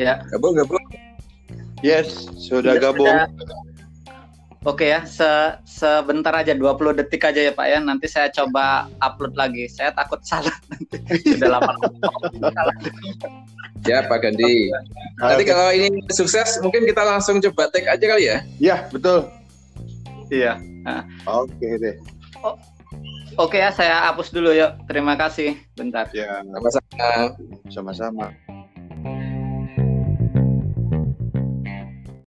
Ya. Gabung, gabung. Yes, sudah Sudah- gabung. sudah. Oke ya, se- sebentar aja 20 detik aja ya Pak ya. Nanti saya coba upload lagi. Saya takut salah nanti. Sudah lama. Ya, Pak Gandhi. Nanti kalau ini sukses, mungkin kita langsung coba tag aja kali ya. Ya, betul. Iya. Oke deh. Oke ya, saya hapus dulu yuk. Terima kasih. Bentar. Ya, Sama-sama. sama-sama.